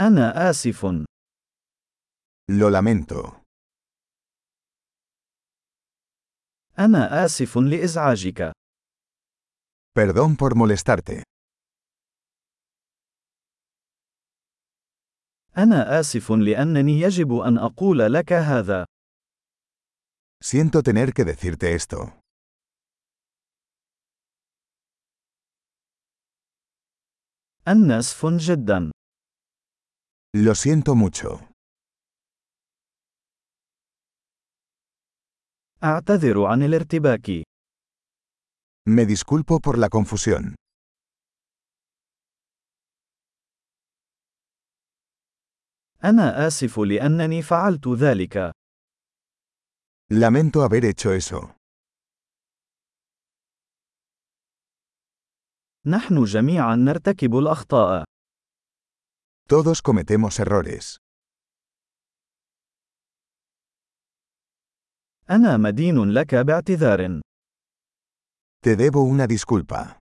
أنا آسف. Lo lamento. أنا آسف لإزعاجك. Perdón por molestarte. أنا آسف لأنني يجب أن أقول لك هذا. Siento tener que decirte esto. أنا آسف جدا. Lo siento mucho. أعتذر عن الارتباك. Me disculpo por la confusión. أنا آسف لأنني فعلت ذلك. Lamento haber hecho eso. نحن جميعا نرتكب الأخطاء. Todos cometemos errores. أنا مدين لك باعتذار. Te debo una disculpa.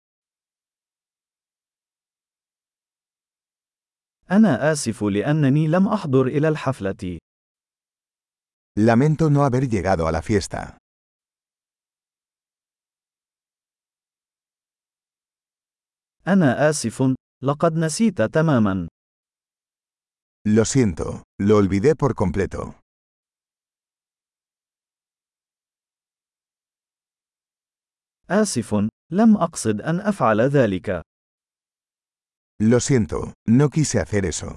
أنا آسف لأنني لم أحضر إلى الحفلة. Lamento no haber llegado a la fiesta. أنا آسف. لقد نسيت تماما. Lo siento, lo olvidé por completo. آسف. لم أقصد أن أفعل ذلك. Lo siento, no quise hacer eso.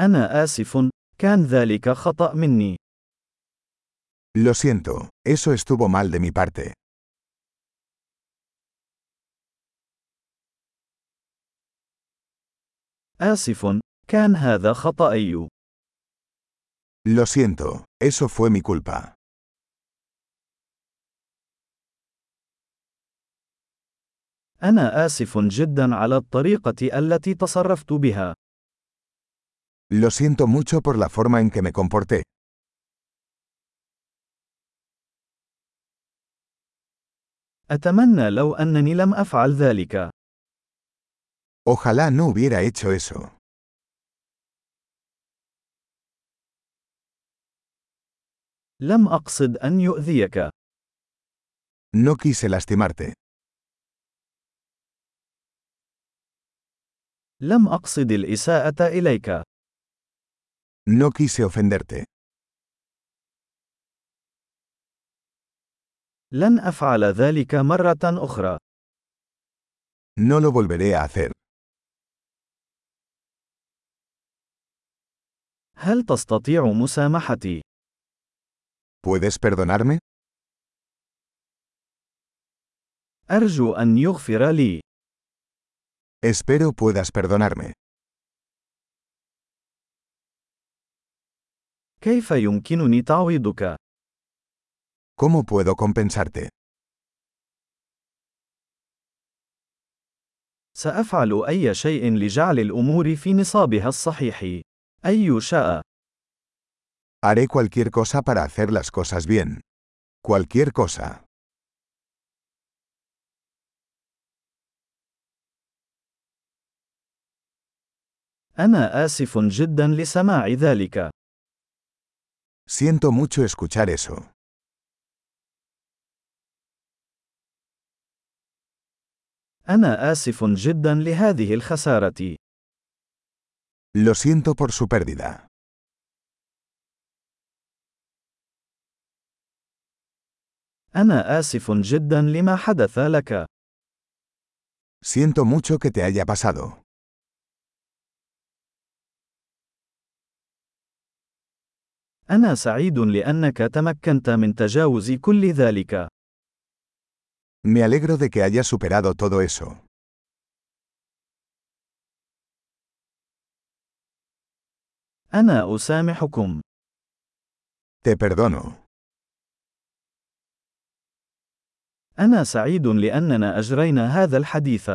أنا آسف. كان ذلك خطأ مني. Lo siento, eso estuvo mal de mi parte. آسف. كان هذا خطأي. Lo siento, eso fue mi culpa. أنا آسف جدا على الطريقة التي تصرفت بها. Lo siento mucho por la forma en que me comporté. أتمنى لو أنني لم أفعل ذلك. Ojalá no hubiera hecho eso. لم أقصد أن يؤذيك. No quise lastimarte. لم أقصد الإساءة إليك. No quise ofenderte. لن أفعل ذلك مرة أخرى. No lo volveré a hacer. هل تستطيع مسامحتي؟ ¿Puedes perdonarme? أرجو أن يغفر لي. Espero puedas perdonarme. كيف يمكنني تعويضك؟ ¿Cómo puedo compensarte? سأفعل أي شيء لجعل الأمور في نصابها الصحيح. أي شاء. Haré cualquier cosa para hacer las cosas bien. Cualquier cosa. أنا آسف جدا لسماع ذلك. Siento mucho escuchar eso. أنا آسف جدا لهذه الخسارة. Lo siento por su pérdida. أنا آسف جدا لما حدث لك. Siento mucho que te haya pasado. أنا سعيد لأنك تمكنت من تجاوز كل ذلك. Me alegro de que hayas superado todo eso. أنا أسامحكم. Te perdono. أنا سعيد لأننا أجرينا هذا الحديث.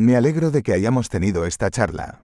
Me alegro de que hayamos tenido esta charla.